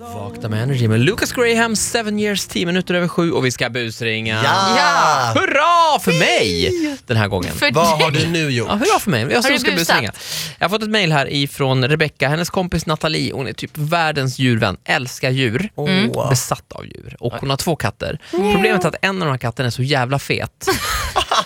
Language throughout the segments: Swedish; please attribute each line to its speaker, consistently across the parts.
Speaker 1: Vakna med Energy med Lucas Graham, 7 years, 10 minuter över 7 och vi ska busringa.
Speaker 2: Ja!
Speaker 1: Hurra för mig den här gången.
Speaker 3: För
Speaker 2: Vad
Speaker 3: dig.
Speaker 2: har du nu
Speaker 1: Ja,
Speaker 2: gjort?
Speaker 1: hurra för mig. Jag
Speaker 3: Har
Speaker 1: som
Speaker 3: du
Speaker 1: ska
Speaker 3: busat?
Speaker 1: busringa. Jag har fått ett mejl här ifrån Rebecca, hennes kompis Nathalie. Hon är typ världens djurvän, älskar djur.
Speaker 3: Mm.
Speaker 2: Åh.
Speaker 1: Besatt av djur. Och hon har två katter. Problemet är att en av de här katterna är så jävla fet.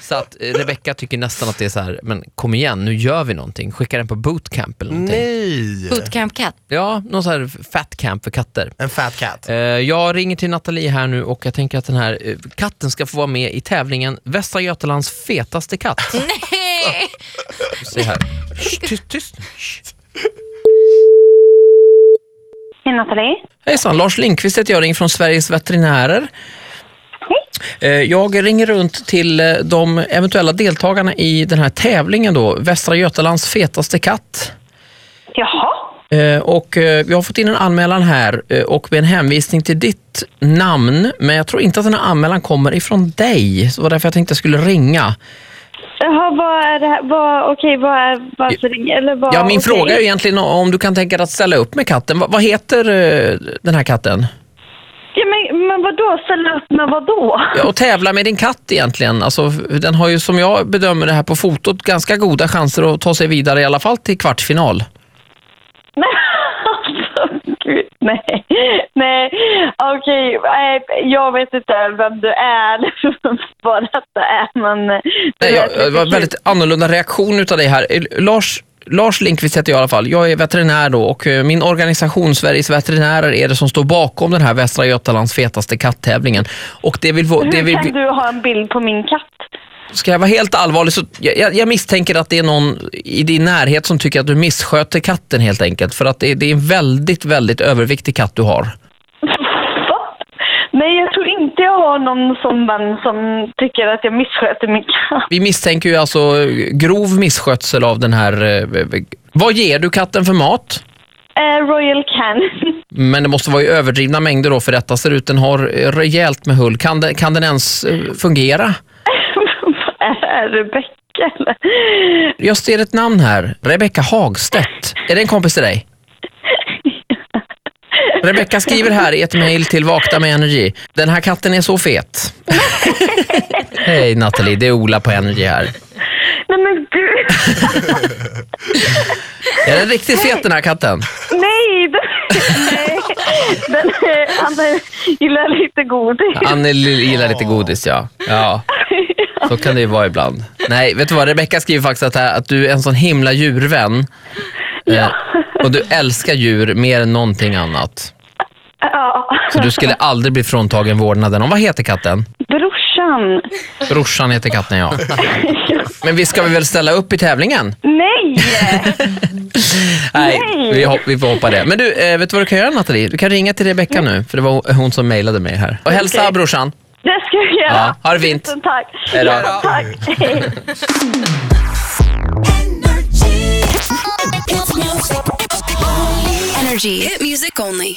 Speaker 1: så att eh, Rebecca tycker nästan att det är så här, men kom igen nu gör vi någonting. Skicka den på bootcamp eller någonting.
Speaker 2: Nej!
Speaker 3: Bootcamp Cat.
Speaker 1: Ja, någon så här fat camp för katter.
Speaker 2: En fat cat.
Speaker 1: Eh, Jag ringer till Nathalie här nu och jag tänker att den här eh, katten ska få vara med i tävlingen Västra Götalands fetaste katt.
Speaker 3: Nej!
Speaker 1: Se här. Shh, Tyst, tyst. Shh.
Speaker 4: Hej Nathalie.
Speaker 1: Hejsan, Lars Lindqvist heter jag, ringer från Sveriges veterinärer. Eh, Jag ringer runt till eh, de eventuella deltagarna i den här tävlingen då, Västra Götalands fetaste katt.
Speaker 4: Jaha.
Speaker 1: Eh, Och eh, jag har fått in en anmälan här eh, och med en hänvisning till ditt namn, men jag tror inte att den här anmälan kommer ifrån dig. Så det var därför jag tänkte jag skulle ringa.
Speaker 4: Jaha, vad är det här? Vad, okej, vad är... Varför ringer... Eller vad,
Speaker 1: Ja, min
Speaker 4: okej.
Speaker 1: fråga är ju egentligen om du kan tänka dig att ställa upp med katten. Va- vad heter eh, den här katten?
Speaker 4: Ja, men, men vadå? Ställa upp med vadå?
Speaker 1: Ja, och tävla med din katt egentligen. Alltså, den har ju som jag bedömer det här på fotot ganska goda chanser att ta sig vidare i alla fall till kvartsfinal.
Speaker 4: Nej, alltså, gud, nej. Nej, okej. nej, Jag vet inte vem du är eller vad detta är, men...
Speaker 1: Nej,
Speaker 4: det
Speaker 1: jag,
Speaker 4: lät
Speaker 1: det var en
Speaker 4: lite
Speaker 1: väldigt annorlunda reaktion utav dig här. Eh, Lars, Lars Lindqvist heter jag i alla fall. Jag är veterinär då och eh, min organisation Sveriges veterinärer är det som står bakom den här Västra Götalands fetaste kattävlingen. Och det vill,
Speaker 4: kul.
Speaker 1: det
Speaker 4: Hur
Speaker 1: vill,
Speaker 4: kan du ha en bild på min katt?
Speaker 1: Ska jag vara helt allvarlig så jag, jag, jag misstänker att det är någon i din närhet som tycker att du missköter katten helt enkelt. För att det, är- det är en väldigt, väldigt överviktig katt du har.
Speaker 4: Va? Nej, jag tror inte jag har någon sån vän som tycker att jag missköter min katt.
Speaker 1: Vi misstänker ju alltså eh, grov misskötsel av den här... eh, eh, Vad ger du katten för mat?
Speaker 4: Eh, Royal Canin.
Speaker 1: Men det måste vara i överdrivna mängder då för detta ser ut. Den har eh, rejält med hull. Kan den, kan den ens eh, fungera?
Speaker 4: Vad är Rebecka eller?
Speaker 1: Jag ser ett namn här. Rebecka Hagstedt. Är det en kompis till dig? Rebecka skriver här i ett mejl till Vakna med Energy. Den här katten är så fet. Hej Nathalie, det är Ola på Energy här.
Speaker 4: Nej men gud!
Speaker 1: Är den riktigt fet den här katten?
Speaker 4: Nej! Den, nej. Den, eh, han eh, gillar lite godis.
Speaker 1: Annie gillar lite godis ja. ja. Så kan det ju vara ibland. Nej, vet du vad? Rebecka skriver faktiskt att, här, att du är en sån himla djurvän. Eh, och du älskar djur mer än någonting annat.
Speaker 4: Ja.
Speaker 1: Så du skulle aldrig bli fråntagen vårdnaden om. Vad heter katten?
Speaker 4: Brorsan.
Speaker 1: Brorsan heter katten ja. Men vi ska vi väl ställa upp i tävlingen?
Speaker 4: Nej!
Speaker 1: Nej,
Speaker 4: Nej.
Speaker 1: vi, hop- vi får hoppa det. Men du, eh, vet du vad du kan göra Nathalie? Du kan ringa till Rebecca nu, för det var hon som mejlade mig här. Och hälsa
Speaker 4: Okej.
Speaker 1: brorsan.
Speaker 4: Det ska jag göra.
Speaker 1: Ja, ha det fint.
Speaker 4: Tusen tack.
Speaker 1: Hej då.
Speaker 4: Ja, tack. Hej.
Speaker 5: Energy. Hit music only.